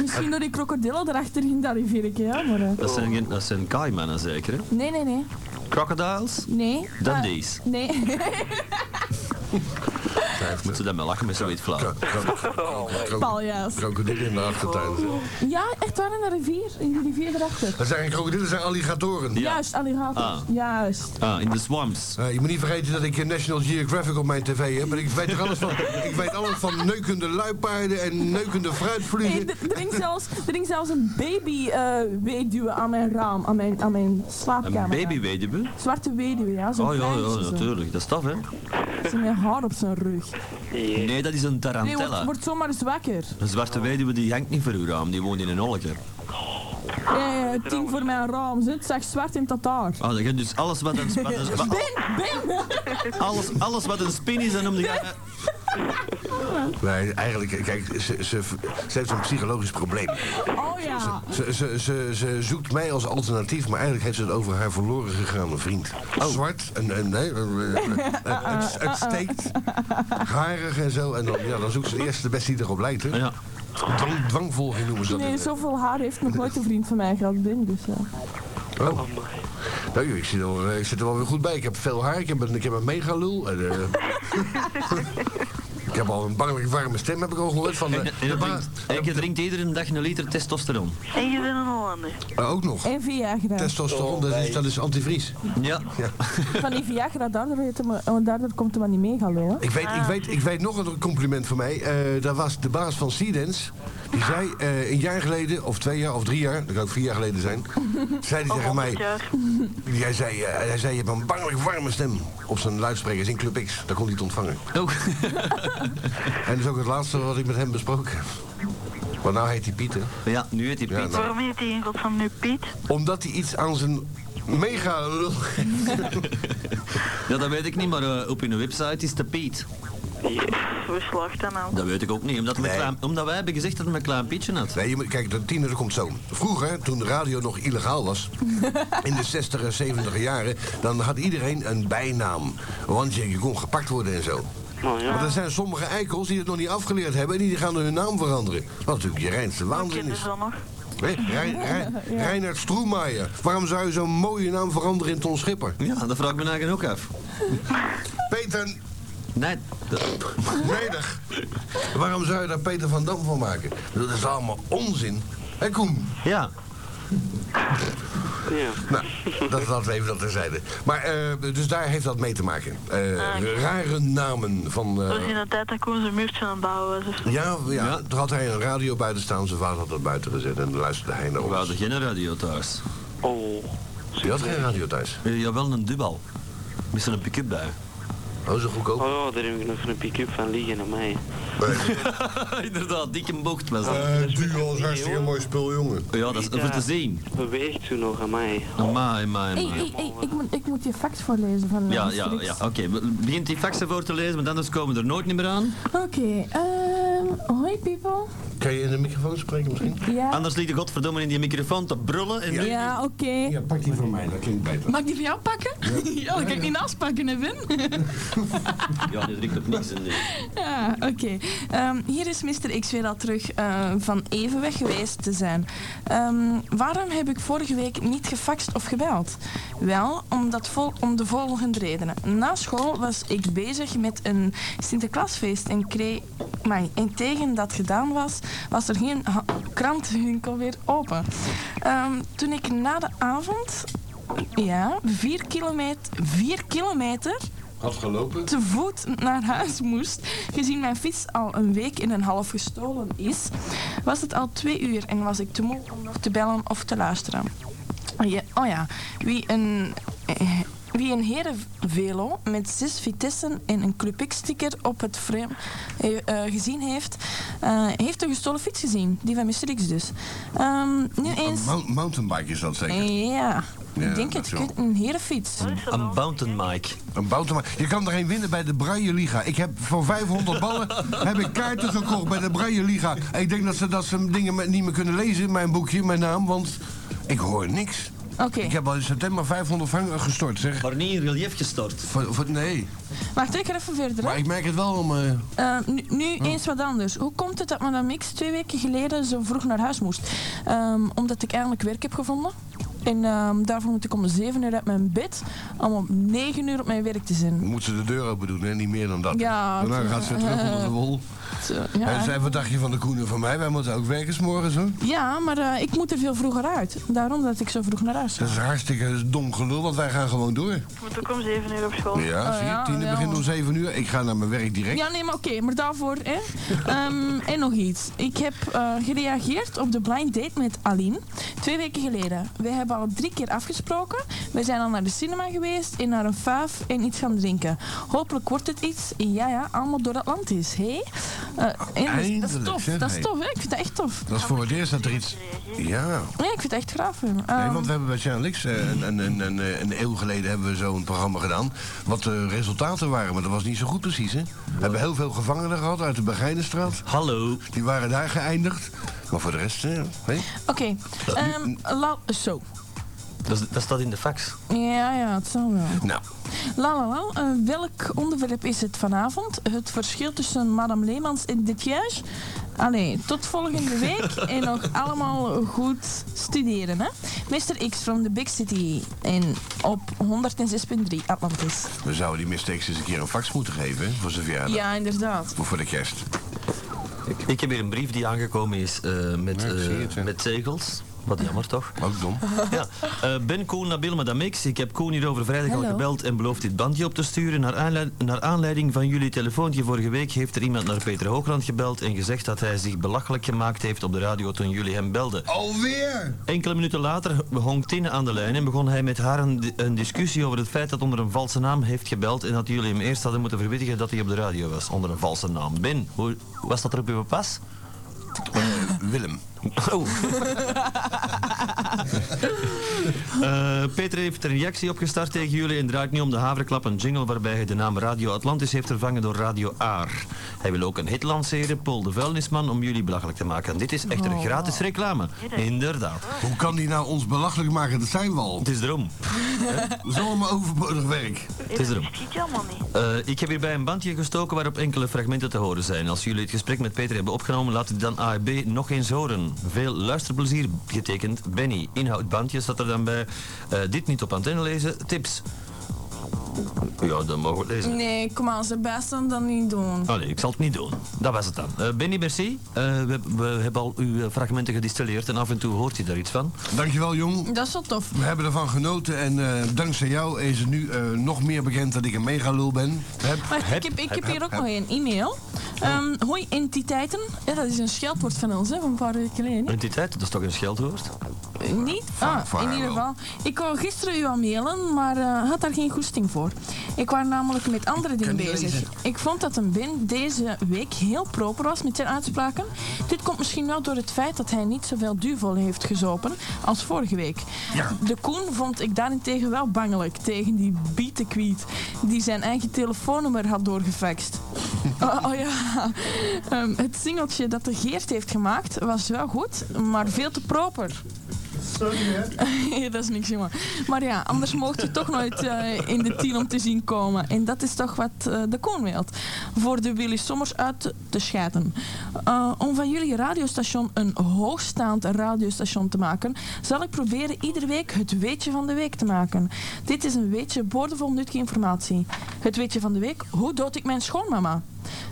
[SPEAKER 11] Misschien door die krokodillen erachter in dat rivier, ik, ja, maar... eh.
[SPEAKER 3] Dat zijn, geen- dat zijn kaimannen zeker, hè?
[SPEAKER 11] Nee, nee, nee.
[SPEAKER 3] Crocodiles?
[SPEAKER 11] Nee. Eh,
[SPEAKER 3] Dundees.
[SPEAKER 11] Nee.
[SPEAKER 3] Moeten ze dan maar lachen met zoiets flauw.
[SPEAKER 11] Paljas.
[SPEAKER 1] Krokodillen in de achtertuin.
[SPEAKER 11] Ja, echt waar in de rivier. In die rivier erachter.
[SPEAKER 1] Dat zijn geen krokodillen, dat zijn alligatoren.
[SPEAKER 3] Ja.
[SPEAKER 11] Juist, alligators.
[SPEAKER 3] Ah.
[SPEAKER 11] Juist.
[SPEAKER 3] Ah, in de swamps.
[SPEAKER 1] Eh, je moet niet vergeten dat ik eh, National Geographic op mijn tv heb. En ik weet er alles van. ik weet alles van neukende luipaarden en neukende
[SPEAKER 11] Hey,
[SPEAKER 1] fruitvliegen.
[SPEAKER 11] d- er, hing zelfs, er hing zelfs een baby eh weduwe aan mijn raam, aan mijn, aan mijn
[SPEAKER 3] Een
[SPEAKER 11] slaapkamer.
[SPEAKER 3] baby weduwe.
[SPEAKER 11] Zwarte weduwe, ja. Zo'n
[SPEAKER 3] Oh ja,
[SPEAKER 11] kleintje
[SPEAKER 3] ja,
[SPEAKER 11] zo.
[SPEAKER 3] natuurlijk. Dat is tof, hè?
[SPEAKER 11] Ze met haar op zijn rug.
[SPEAKER 8] Yeah.
[SPEAKER 3] Nee, dat is een
[SPEAKER 11] Nee, wordt,
[SPEAKER 3] tarantella.
[SPEAKER 11] wordt zomaar eens wakker.
[SPEAKER 3] Een zwarte weduwe die hangt niet voor uw raam, die woont in een holker.
[SPEAKER 11] Eh, tien voor mijn raam, zit zag zwart in Tataar.
[SPEAKER 3] Ah, dat gaat dus alles wat een, wat een- wa-
[SPEAKER 11] Ben, Ben!
[SPEAKER 3] alles, alles wat een spin is, dan noemde je...
[SPEAKER 1] Nee, eigenlijk, kijk, ze, ze, ze heeft een psychologisch probleem.
[SPEAKER 11] Oh ja.
[SPEAKER 1] Ze, ze, ze, ze zoekt mij als alternatief, maar eigenlijk heeft ze het over haar verloren gegaane vriend.
[SPEAKER 3] Oh.
[SPEAKER 1] Zwart en, en nee, eh, eh, het, het, het steekt, harig en zo. En dan, ja, dan zoekt ze de eerste de beste die erop lijkt. Hè?
[SPEAKER 3] Ja.
[SPEAKER 1] Dwang, dwangvolging noemen ze dat. in
[SPEAKER 11] Nee,
[SPEAKER 1] de-
[SPEAKER 11] zoveel haar heeft nog nooit een vriend van mij gehad, Ben. Dus, ja.
[SPEAKER 1] Oh. Nou, ik zit, er, wel- ik zit er wel weer goed bij. Ik heb veel haar, ik heb een, ik heb een mega lul. En, eh, ik heb al een bangelijk warme stem, heb ik al gehoord. Van, de-
[SPEAKER 3] En, en,
[SPEAKER 1] de
[SPEAKER 3] dat
[SPEAKER 1] ba-
[SPEAKER 3] drinkt, en je drinkt iedere dag een liter testosteron.
[SPEAKER 6] En je bent een Hollander.
[SPEAKER 1] Eh, ook nog.
[SPEAKER 11] En Viagra.
[SPEAKER 1] Testosteron, dat is, dat is antivries.
[SPEAKER 3] Ja.
[SPEAKER 11] Van die Viagra, daardoor, heet hem, eh, daardoor komt hem maar niet mee gaan lullen.
[SPEAKER 1] Ik weet, ik, weet, ik weet nog een compliment van mij. Eh dat was de baas van Seedance. Die zei eh, een jaar geleden, of twee jaar, of drie jaar, dat kan ook vier jaar geleden zijn. zei
[SPEAKER 6] Oh,
[SPEAKER 1] hij tegen mij,
[SPEAKER 6] jaar.
[SPEAKER 1] hij zei, eh, hij zei, je hebt een bangelijk warme stem. Op zijn luidsprekers in Club X, dat kon hij het ontvangen.
[SPEAKER 3] Ook.
[SPEAKER 1] En dat is ook het laatste wat ik met hem besproken heb. Want nou heet hij Pieter.
[SPEAKER 3] Ja, nu heet hij
[SPEAKER 1] Ja,
[SPEAKER 3] Piet.
[SPEAKER 1] nou.
[SPEAKER 6] Waarom heet die in godsnaam nu Piet?
[SPEAKER 1] Omdat hij iets aan zijn mega lul...
[SPEAKER 3] Ja, dat weet ik niet, maar eh, op hun website is de Piet.
[SPEAKER 6] Hoe slaagt dat nou?
[SPEAKER 3] Dat weet ik ook niet, omdat, het een
[SPEAKER 1] Nee.
[SPEAKER 3] klein- omdat wij hebben gezegd dat het een klein pietje had.
[SPEAKER 1] Nee, je moet, kijk, de tiener komt zo. Vroeger, toen de radio nog illegaal was, in de 60 en 70 jaren, dan had iedereen een bijnaam. Want je, je kon gepakt worden en zo.
[SPEAKER 8] Oh, ja.
[SPEAKER 1] Maar er zijn sommige eikels die het nog niet afgeleerd hebben en die gaan hun naam veranderen. Wat natuurlijk je reinste waanzin
[SPEAKER 6] Kennen
[SPEAKER 1] is.
[SPEAKER 6] ze dat nog?
[SPEAKER 1] Hè? Rein, Rein- Reinhard Stroemaier. Waarom zou je zo'n mooie naam veranderen in Ton Schipper?
[SPEAKER 3] Ja, dat vraag ik me eigenlijk ook af.
[SPEAKER 1] Peter
[SPEAKER 3] Nee, dat-
[SPEAKER 1] Neder. Waarom zou je daar Peter van Dam van maken? Dat is allemaal onzin. Hé Koen,
[SPEAKER 3] ja.
[SPEAKER 1] Nou, dat laten we even dat terzijde. Maar, eh, dus daar heeft dat mee te maken. Eh,
[SPEAKER 6] Ah, Oh, oké.
[SPEAKER 1] Rare namen van... eh,
[SPEAKER 6] Dat was in de tijd dat Koen zijn muurtje aan het bouwen Dus was. of zo.
[SPEAKER 1] ja, ja, er had hij een radio buiten staan. Zijn vader had dat buiten gezet en dan luisterde hij naar ons. We hadden
[SPEAKER 3] geen radio thuis. Eh,
[SPEAKER 1] Oh. Je had geen radio thuis?
[SPEAKER 3] Ja, wel een dubbel. Misschien een pick-up bij.
[SPEAKER 1] Oh, zo goedkoop.
[SPEAKER 12] Oh ja, daar heb ik nog een pick-up van liggen aan mij.
[SPEAKER 3] Inderdaad, dikke bocht was dat.
[SPEAKER 1] Eh, duo is hartstikke mooi spul, jongen.
[SPEAKER 3] Ja, dat is over te zien.
[SPEAKER 12] Beweegt toen nog aan mij.
[SPEAKER 3] Amai, amai,
[SPEAKER 4] Hey,
[SPEAKER 3] amai.
[SPEAKER 4] hey, hey, ik, moet, ik moet je fax voorlezen van eh,
[SPEAKER 3] Ja, ja,
[SPEAKER 4] Asterix.
[SPEAKER 3] ja. Oké, we- begint die faxen voor te lezen, want anders komen we er nooit niet meer aan.
[SPEAKER 4] Oké, ehm, hoi people.
[SPEAKER 1] Kan je in de microfoon spreken misschien?
[SPEAKER 4] Ja.
[SPEAKER 11] Ah.
[SPEAKER 3] Anders liet de godverdomme in die microfoon te brullen. En
[SPEAKER 4] Ja, oké.
[SPEAKER 1] pak die voor mij, dat klinkt beter.
[SPEAKER 11] Mag ik die voor jou pakken? Ja, dat kan ik niet naast pakken, hè, Wim?
[SPEAKER 3] Ja, dit riekt op niks. En,
[SPEAKER 11] Ja, oké. Ehm, hier is Mr. X weer al terug eh, van even weg geweest te zijn. Ehm, waarom heb ik vorige week niet gefaxt of gebeld? Wel, omdat vol om de volgende redenen. Na school was ik bezig met een Sinterklaasfeest en kreeg... amai, en tegen dat gedaan was, was er geen ha- krantenwinkel weer open. Ehm, toen ik na de avond... Ja, vier kilometer... Vier kilometer
[SPEAKER 1] Had gelopen?
[SPEAKER 11] te voet naar huis moest, gezien mijn fiets al een week en een half gestolen is, was het al twee uur en was ik te moe om nog te bellen of te luisteren. Ja, oh ja, wie een, eh, wie een herenvelo met zes vitessen en een Club X-sticker op het frame eh, eh, gezien heeft, eh, heeft een gestolen fiets gezien. Die van Mr. X dus. Ehm, nu eens...
[SPEAKER 1] Mount- mountainbike is dat zeker?
[SPEAKER 11] Ja,
[SPEAKER 1] Ja,
[SPEAKER 11] ik denk
[SPEAKER 1] dat is
[SPEAKER 11] het.
[SPEAKER 1] wel-
[SPEAKER 11] Een herenfiets.
[SPEAKER 1] Een
[SPEAKER 3] mountain Mike.
[SPEAKER 1] Een mountain Mike. Je kan er een winnen bij de Braille Liga. Ik heb voor 500 ballen heb ik kaarten gekocht bij de Braille Liga. En ik denk dat ze, dat ze dingen me- niet meer kunnen lezen in mijn boekje, mijn naam, want ik hoor niks.
[SPEAKER 11] Oké.
[SPEAKER 1] Ik heb al in september 500 frank gestort, zeg.
[SPEAKER 3] Maar niet in relief gestort?
[SPEAKER 1] Voor, voor- nee.
[SPEAKER 11] Wacht, ik ga even verder. hè.
[SPEAKER 1] Maar ik merk het wel om... eh,
[SPEAKER 11] Eh, nu nu eens wat anders. Hoe komt het dat Madame X twee weken geleden zo vroeg naar huis moest? Ehm, omdat ik eindelijk werk heb gevonden. En ehm, daarvoor moet ik om 7 uur uit mijn bed om om 9 uur op mijn werk te zijn.
[SPEAKER 1] moet ze de deur open doen, hè? niet meer dan dat.
[SPEAKER 11] Ja,
[SPEAKER 1] Daarna
[SPEAKER 11] het is-
[SPEAKER 1] gaat ze terug onder de wol.
[SPEAKER 11] ja.
[SPEAKER 1] en zei, wat dacht je van de koenen van mij? Wij moeten ook werken 's morgens, hoor.
[SPEAKER 11] Ja, maar eh, ik moet er veel vroeger uit. Daarom dat ik zo vroeg naar huis ga.
[SPEAKER 1] Dat is hartstikke dom gelul, want wij gaan gewoon door.
[SPEAKER 6] Ik moet ook om 7 uur op school.
[SPEAKER 1] Ja, zie je, tiende begint om 7 uur. Ik ga naar mijn werk direct.
[SPEAKER 11] Oh, Ja, nee, maar oké, maar daarvoor, hè. Ehm, en nog iets. Ik heb eh, gereageerd op de blind date met Aline. Twee weken geleden. Wij hebben al drie keer afgesproken. We zijn al naar de cinema geweest en naar een faaf en iets gaan drinken. Hopelijk wordt het iets. En ja, ja, allemaal door Atlantis, hé. Eh, en dat is- dat is
[SPEAKER 1] Eindelijk,
[SPEAKER 11] tof.
[SPEAKER 1] zeg,
[SPEAKER 11] Dat is
[SPEAKER 1] hé.
[SPEAKER 11] tof, hè. Ik vind dat echt tof.
[SPEAKER 1] Dat is voor het eerst dat er iets... Ja.
[SPEAKER 11] Nee, ik vind het echt graaf. hè.
[SPEAKER 1] Nee,
[SPEAKER 11] Ehm,
[SPEAKER 1] want we hebben bij Channelix eh, een, een, een, een, eh, een eeuw geleden hebben we zo'n programma gedaan. Wat de resultaten waren, maar dat was niet zo goed precies. Hè? We hebben heel veel gevangenen gehad uit de Begijnenstraat.
[SPEAKER 3] Hallo.
[SPEAKER 1] Die waren daar geëindigd. Maar voor de rest, eh, hè?
[SPEAKER 11] Oké. Ehm, la- Zo.
[SPEAKER 3] Dat, is- dat staat in de fax.
[SPEAKER 11] Ja, ja, het zal wel.
[SPEAKER 1] Nou.
[SPEAKER 11] La la la, eh, welk onderwerp is het vanavond? Het verschil tussen Madame Leemans en Detjage? Allee, tot volgende week en nog allemaal goed studeren, hè? Mr. X from the Big City en op 106.3 Atlantis.
[SPEAKER 1] We zouden die mistakes eens een keer een fax moeten geven hè, voor zijn verjaardag.
[SPEAKER 11] Ja, inderdaad.
[SPEAKER 1] Of voor de kerst.
[SPEAKER 3] Ik heb hier een brief die aangekomen is eh, met, eh, met zegels. Wat jammer toch?
[SPEAKER 1] Ook dom.
[SPEAKER 3] Ja. Eh, ben Koen Nabil Madame X. Ik heb Koen hierover vrijdag al
[SPEAKER 11] Hallo.
[SPEAKER 3] gebeld en beloofd dit bandje op te sturen. Naar, aanleid- naar aanleiding van jullie telefoontje vorige week heeft er iemand naar Peter Hoogland gebeld en gezegd dat hij zich belachelijk gemaakt heeft op de radio toen jullie hem belden.
[SPEAKER 1] Alweer!
[SPEAKER 3] Enkele minuten later hong Tine aan de lijn en begon hij met haar een, di- een discussie over het feit dat onder een valse naam heeft gebeld en dat jullie hem eerst hadden moeten verwittigen dat hij op de radio was onder een valse naam. Ben, hoe was dat er op uw pas?
[SPEAKER 1] Willem.
[SPEAKER 3] Oh. Eh, Peter heeft een reactie opgestart tegen jullie en draait nu om de haverklap een jingle waarbij hij de naam Radio Atlantis heeft vervangen door Radio Aar. Hij wil ook een hit lanceren, Paul de Vuilnisman, om jullie belachelijk te maken. Dit is echter een gratis reclame. Inderdaad.
[SPEAKER 1] Hoe kan die nou ons belachelijk maken? Dat zijn we al. Het
[SPEAKER 3] is erom.
[SPEAKER 1] Zo'n overbodig werk.
[SPEAKER 3] Het is erom.
[SPEAKER 6] Schiet je allemaal niet.
[SPEAKER 3] Eh, ik heb hierbij een bandje gestoken waarop enkele fragmenten te horen zijn. Als jullie het gesprek met Peter hebben opgenomen, laat het dan ARB nog eens horen. Veel luisterplezier, getekend Benny. Inhoud bandje staat er dan bij. Eh, dit niet op antenne lezen, tips. Ja, dat mogen we lezen.
[SPEAKER 11] Nee, kom aan, ze bijstaan dan niet doen.
[SPEAKER 3] Allee, ik zal het niet doen. Dat was het dan. Eh, Benny, merci. Eh, we, we hebben al uw eh, fragmenten gedistilleerd en af en toe hoort je daar iets van.
[SPEAKER 1] Dankjewel, jong.
[SPEAKER 11] Dat is wel tof.
[SPEAKER 1] We hebben ervan genoten en eh, dankzij jou is het nu eh, nog meer bekend dat ik een megalul ben. Heb,
[SPEAKER 11] Maar ik heb, ik heb hier ook nog een e-mail. Ehm, hoi entiteiten. Ja, dat is een scheldwoord van ons, hè, van een paar weken geleden.
[SPEAKER 3] Entiteit, dat is toch een scheldwoord?
[SPEAKER 11] Eh, Niet? Ah,
[SPEAKER 3] vaar
[SPEAKER 11] in ieder geval. Ik wou gisteren u al mailen, maar eh, had daar geen goesting voor. Ik was namelijk met andere dingen
[SPEAKER 13] niet
[SPEAKER 11] bezig.
[SPEAKER 13] lezen.
[SPEAKER 11] Ik vond dat een Ben deze week heel proper was met zijn uitspraken. Dit komt misschien wel door het feit dat hij niet zoveel duvel heeft gezopen als vorige week. De Koen vond ik daarentegen wel bangelijk tegen die bietenkwiet die zijn eigen telefoonnummer had doorgefaxt. oh, oh ja, Ehm, het singeltje dat de Geert heeft gemaakt was wel goed, maar veel te proper. Ja, dat is niks, jongen. Maar ja, anders mocht je toch nooit eh, in de tien om te zien komen. En dat is toch wat eh, de koon wilt. Voor de Willy Sommers uit te- te scheiden. Eh, om van jullie radiostation een hoogstaand radiostation te maken... zal ik proberen iedere week het weetje van de week te maken. Dit is een weetje boordevol nuttige informatie. Het weetje van de week, hoe dood ik mijn schoonmama?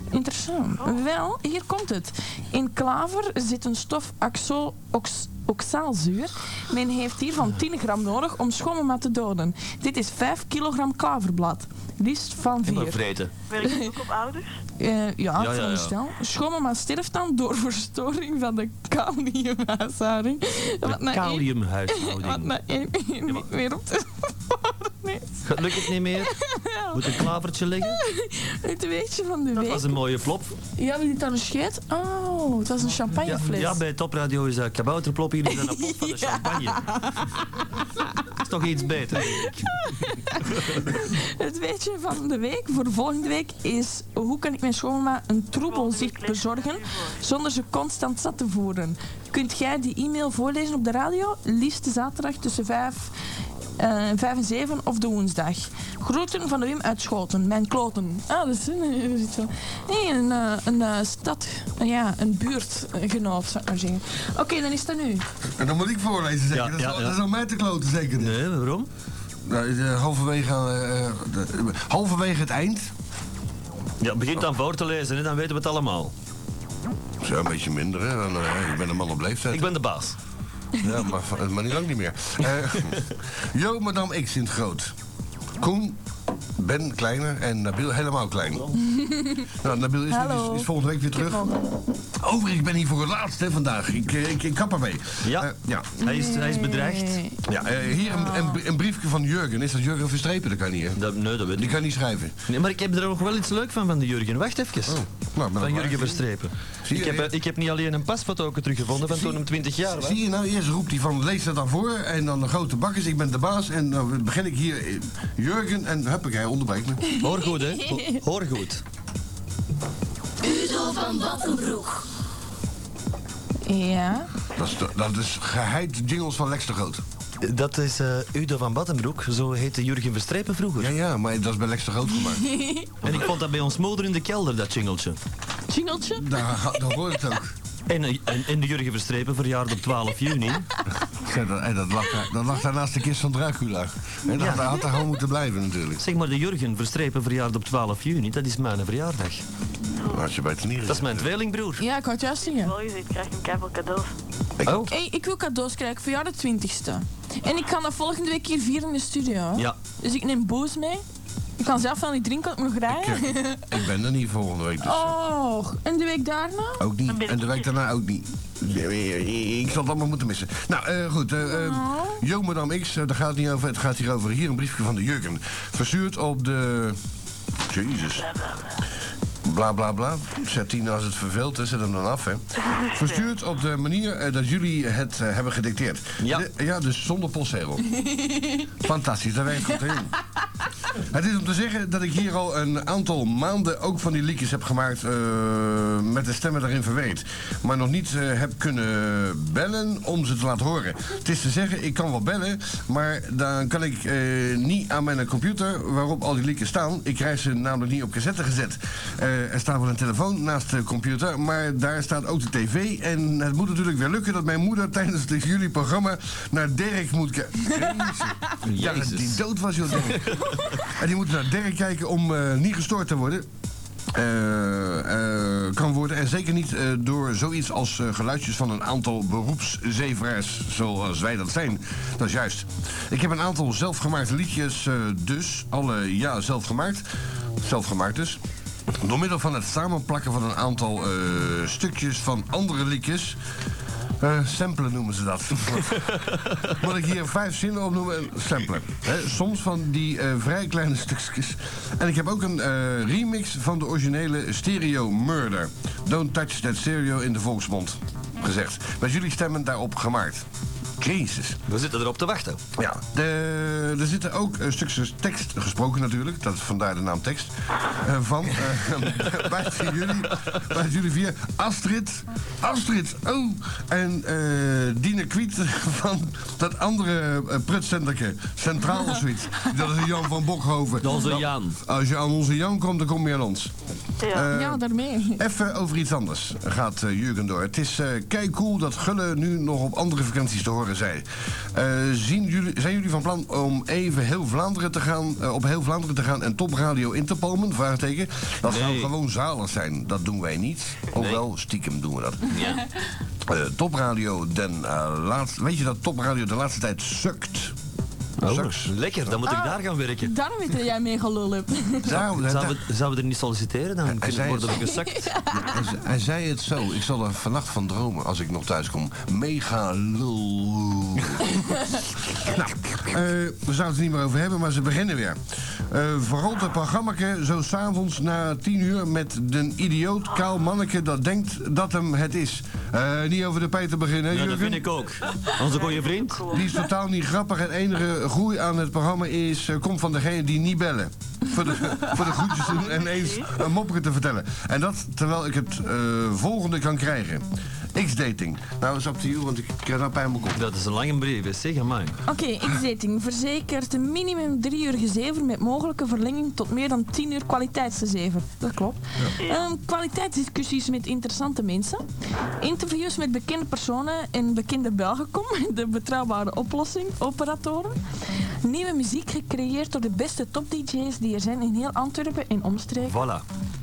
[SPEAKER 11] Interessant. Wel, hier komt het. In klaver zit een stof axo- ox- oxaalzuur. Men heeft hiervan 10 gram nodig om schommema te doden. Dit is 5 kilogram klaverblad. Liefst van
[SPEAKER 3] Helemaal
[SPEAKER 11] 4.
[SPEAKER 3] vreten.
[SPEAKER 6] Werkt het ook op ouders?
[SPEAKER 11] Eh, ja,
[SPEAKER 3] Ja, ja, ja.
[SPEAKER 11] veronderstel. Schommema sterft dan door verstoring van de kaliumhuishouding. Wat na één-
[SPEAKER 3] Kaliumhuishouding.
[SPEAKER 11] Wat na één minuut weer op te worden is.
[SPEAKER 3] Lukt het niet meer? Moet een klavertje liggen?
[SPEAKER 11] Het weetje van de
[SPEAKER 3] Dat was een
[SPEAKER 11] week.
[SPEAKER 3] mooie flop.
[SPEAKER 11] Ja, wie dit dan een scheet? Oh, het was een champagnefles.
[SPEAKER 3] Ja, bij Topradio is dat kabouterplop hier, is dat een plop van de champagne. Dat is toch iets beter. denk ik.
[SPEAKER 11] Het weetje van de week voor volgende week is... hoe kan ik mijn schoonma een troebelzicht bezorgen... zonder ze constant zat te voeren? Kunt jij die e-mail voorlezen op de radio? Liefst zaterdag tussen 5 en 7 of de woensdag. Groeten van de Wim uit Schoten. Mijn kloten. Ah, dat is een, dat is iets van- Nee, een, eh, een eh, stad... ja, een buurtgenoot, zou ik maar zeggen. Oké, dan is dat nu.
[SPEAKER 1] En dan moet ik voorlezen, zeker.
[SPEAKER 3] Ja,
[SPEAKER 1] dat, is,
[SPEAKER 3] ja, ja.
[SPEAKER 1] dat is aan mij te kloten, zeker. Nou,
[SPEAKER 3] Nee, waarom?
[SPEAKER 1] halverwege, eh, eh, de- halverwege het eind.
[SPEAKER 3] Ja, begin dan voor te lezen, hè, dan weten we het allemaal.
[SPEAKER 1] Zo, een beetje minder, hè. Dan, eh, ik ben een man op leeftijd. Ik
[SPEAKER 3] ben de baas.
[SPEAKER 1] Ja, maar, van- maar niet lang niet meer. Eh, Jo, madame X in het groot. Koen, Ben kleiner en Nabil helemaal klein. Nou, Nabil is,
[SPEAKER 13] Hallo.
[SPEAKER 1] is, is volgende week weer terug. Overigens, ik ben hier voor het laatst hè, vandaag. Ik, eh, ik, ik kap ermee. Ja. ja.
[SPEAKER 3] Hij is- hij is bedreigd. Nee.
[SPEAKER 1] Ja, eh, hier een, een, een briefje van Jurgen. Is dat Jurgen verstrepen? Dat kan niet, hè?
[SPEAKER 3] nee, dat weet
[SPEAKER 1] Die kan niet schrijven.
[SPEAKER 3] Nee, maar ik heb er nog wel iets leuk van, van de Jurgen. Wacht even. van Jurgen Verstrepen. Ik heb, eh, ik heb niet alleen een pasfoto ook teruggevonden van toen hem 20 jaar was.
[SPEAKER 1] Zie je nou, eerst roept hij van lees dat dan voor en dan de grote bakkers, ik ben de baas en dan begin ik hier, eh, Jurgen en huppakee, onderbreek me.
[SPEAKER 3] Hoor goed, hè? Hoor goed.
[SPEAKER 13] Udo van Wattenbroek.
[SPEAKER 11] Ja.
[SPEAKER 1] Dat is, de- dat is geheid jingles van Lex de Groot.
[SPEAKER 3] Dat is eh, Udo van Battenbroek, zo heette Jurgen Verstrepen vroeger. Ja,
[SPEAKER 1] ja, maar dat is bij Lex de Groot gemaakt.
[SPEAKER 3] En ik vond dat bij ons moeder in de kelder, dat jingeltje.
[SPEAKER 11] Jingeltje?
[SPEAKER 1] Daar, daar hoort het ook.
[SPEAKER 3] En, eh, en, en de Jurgen Verstrepen verjaarde op 12 juni.
[SPEAKER 1] Ja, dat, en dat, lag, daar- dat lag daar naast de kist van Dracula. En dat
[SPEAKER 3] Ja.
[SPEAKER 1] dat had daar gewoon moeten blijven natuurlijk.
[SPEAKER 3] Zeg maar, de Jurgen Verstrepen verjaarde op 12 juni, dat is mijn verjaardag.
[SPEAKER 1] Als je bij het
[SPEAKER 3] Dat is mijn tweelingbroer.
[SPEAKER 11] Ja, ik had het juist zeggen.
[SPEAKER 6] Ik krijg een keiveel cadeaus.
[SPEAKER 3] Oh.
[SPEAKER 11] Hey, ik wil cadeaus krijgen voor jou de 20ste. En ik kan dat volgende week hier vieren in de studio.
[SPEAKER 1] Ja.
[SPEAKER 11] Dus ik neem boos mee. Ik kan zelf wel niet drinken, want ik moet rijden.
[SPEAKER 1] Ik ben er niet volgende week, dus
[SPEAKER 11] oh, en de week daarna?
[SPEAKER 1] ook niet. En de week daarna ook niet. Ik zal het allemaal moeten missen. Nou, eh, goed. eh, eh, Jo, madame X, eh, daar gaat het niet over. Het gaat hier over. Hier een briefje van de Jurgen. Verstuurd op de... Jezus. Bla bla bla. Zet die nou als het verveelt, hè. zet hem dan af. Hè. Verstuurd op de manier eh, dat jullie het eh, hebben gedicteerd. Ja. ja, dus zonder postzegel. Fantastisch, dat werkt goed. Hè? jongen? Het is om te zeggen dat ik hier al een aantal maanden ook van die liedjes heb gemaakt eh, met de stemmen daarin verweet. Maar nog niet eh, heb kunnen bellen om ze te laten horen. Het is te zeggen, ik kan wel bellen, maar dan kan ik eh, niet aan mijn computer waarop al die liedjes staan. Ik krijg ze namelijk niet op cassette gezet. Eh, er staat wel een telefoon naast de computer, maar daar staat ook de tv. En het moet natuurlijk weer lukken dat mijn moeder tijdens het jullie programma naar Dirk moet kijken. Ja,
[SPEAKER 3] Jezus.
[SPEAKER 1] die dood was, joh. Dirk. En die moeten naar Dirk kijken om eh, niet gestoord te worden. eh, eh, kan worden. En zeker niet eh, door zoiets als eh, geluidjes van een aantal beroepszeveraars, zoals wij dat zijn. Dat is juist. Ik heb een aantal zelfgemaakte liedjes, eh, dus. Alle ja, zelfgemaakt. Zelfgemaakt dus. Door middel van het samenplakken van een aantal eh, stukjes van andere liedjes. Eh, samplen noemen ze dat. Moet ik hier vijf zinnen op noemen? Eh, Samplen. Hè, soms van die eh, vrij kleine stukjes. En ik heb ook een eh, remix van de originele Stereo Murder. Don't touch that stereo in de volksmond. Gezegd. Met jullie stemmen daarop gemaakt. Jezus.
[SPEAKER 3] We zitten erop te wachten.
[SPEAKER 1] Ja, de- er zitten ook eh, stukjes tekst gesproken natuurlijk. Dat is vandaar de naam tekst. eh, van, eh, bij jullie, bij jullie vier, Astrid. Astrid, oh. En eh Dine Kwiet van dat andere uh, Centraal of zoiets. Dat is een Jan van Bokhoven.
[SPEAKER 3] Onze
[SPEAKER 1] Nou,
[SPEAKER 3] Jan.
[SPEAKER 1] Als je aan onze Jan komt, dan kom je aan ons.
[SPEAKER 6] Ja,
[SPEAKER 1] Eh,
[SPEAKER 6] ja daarmee.
[SPEAKER 1] Even over iets anders gaat eh, Jurgen door. Het is eh kei cool dat Gulle nu nog op andere frequenties te horen zijn. Eh, zien jullie, zijn jullie van plan om even heel Vlaanderen te gaan, eh, op heel Vlaanderen te gaan en topradio in te palmen? Vraagteken. Dat zou gewoon zalig zijn. Dat doen wij niet. Hoewel, stiekem doen we dat.
[SPEAKER 3] Ja.
[SPEAKER 1] Eh, topradio, den, eh, laat, weet je dat Topradio de laatste tijd sukt?
[SPEAKER 3] Oh.
[SPEAKER 1] Sucks.
[SPEAKER 3] Lekker, dan moet ik
[SPEAKER 6] Ah.
[SPEAKER 3] daar gaan werken.
[SPEAKER 6] Daarom weet dat jij mee gelul hebt.
[SPEAKER 1] Zou-
[SPEAKER 3] Zouden we, zouden we er niet solliciteren? Dan kunnen,
[SPEAKER 1] zei
[SPEAKER 3] worden we
[SPEAKER 1] het.
[SPEAKER 3] gezakt.
[SPEAKER 1] Hij, ze- hij zei het zo. Ik zal er vannacht van dromen als ik nog thuis kom. Mega lul. nou, eh, we zouden het niet meer over hebben, maar ze beginnen weer. Eh vooral het programma zo s'avonds na tien uur met den idioot kaal manneke dat denkt dat hem het is. Eh, niet over de pij te beginnen, hè,
[SPEAKER 3] Ja, Nou, dat
[SPEAKER 1] Jurgen?
[SPEAKER 3] vind ik ook. Onze goede vriend.
[SPEAKER 1] Die is totaal niet grappig. En enige groei aan het programma is, eh, komt van degene die niet bellen. Voor de, voor de groetjes en ineens een mopje te vertellen. En dat terwijl ik het eh, volgende kan krijgen. X-dating. Nou, is op to you, want ik krijg daar pijn op.
[SPEAKER 3] Dat is een lange brief, hè. zeg maar.
[SPEAKER 11] Oké, X-dating verzekert een minimum drie uur gezever met mogelijke verlenging tot meer dan tien uur kwaliteitsgezever. Dat klopt. Ehm, kwaliteitsdiscussies met interessante mensen. Interviews met bekende personen en bekende Belgencom, de betrouwbare oplossing, operatoren. Nieuwe muziek gecreëerd door de beste top-dj's die er zijn in heel Antwerpen en omstreken.
[SPEAKER 3] Voilà.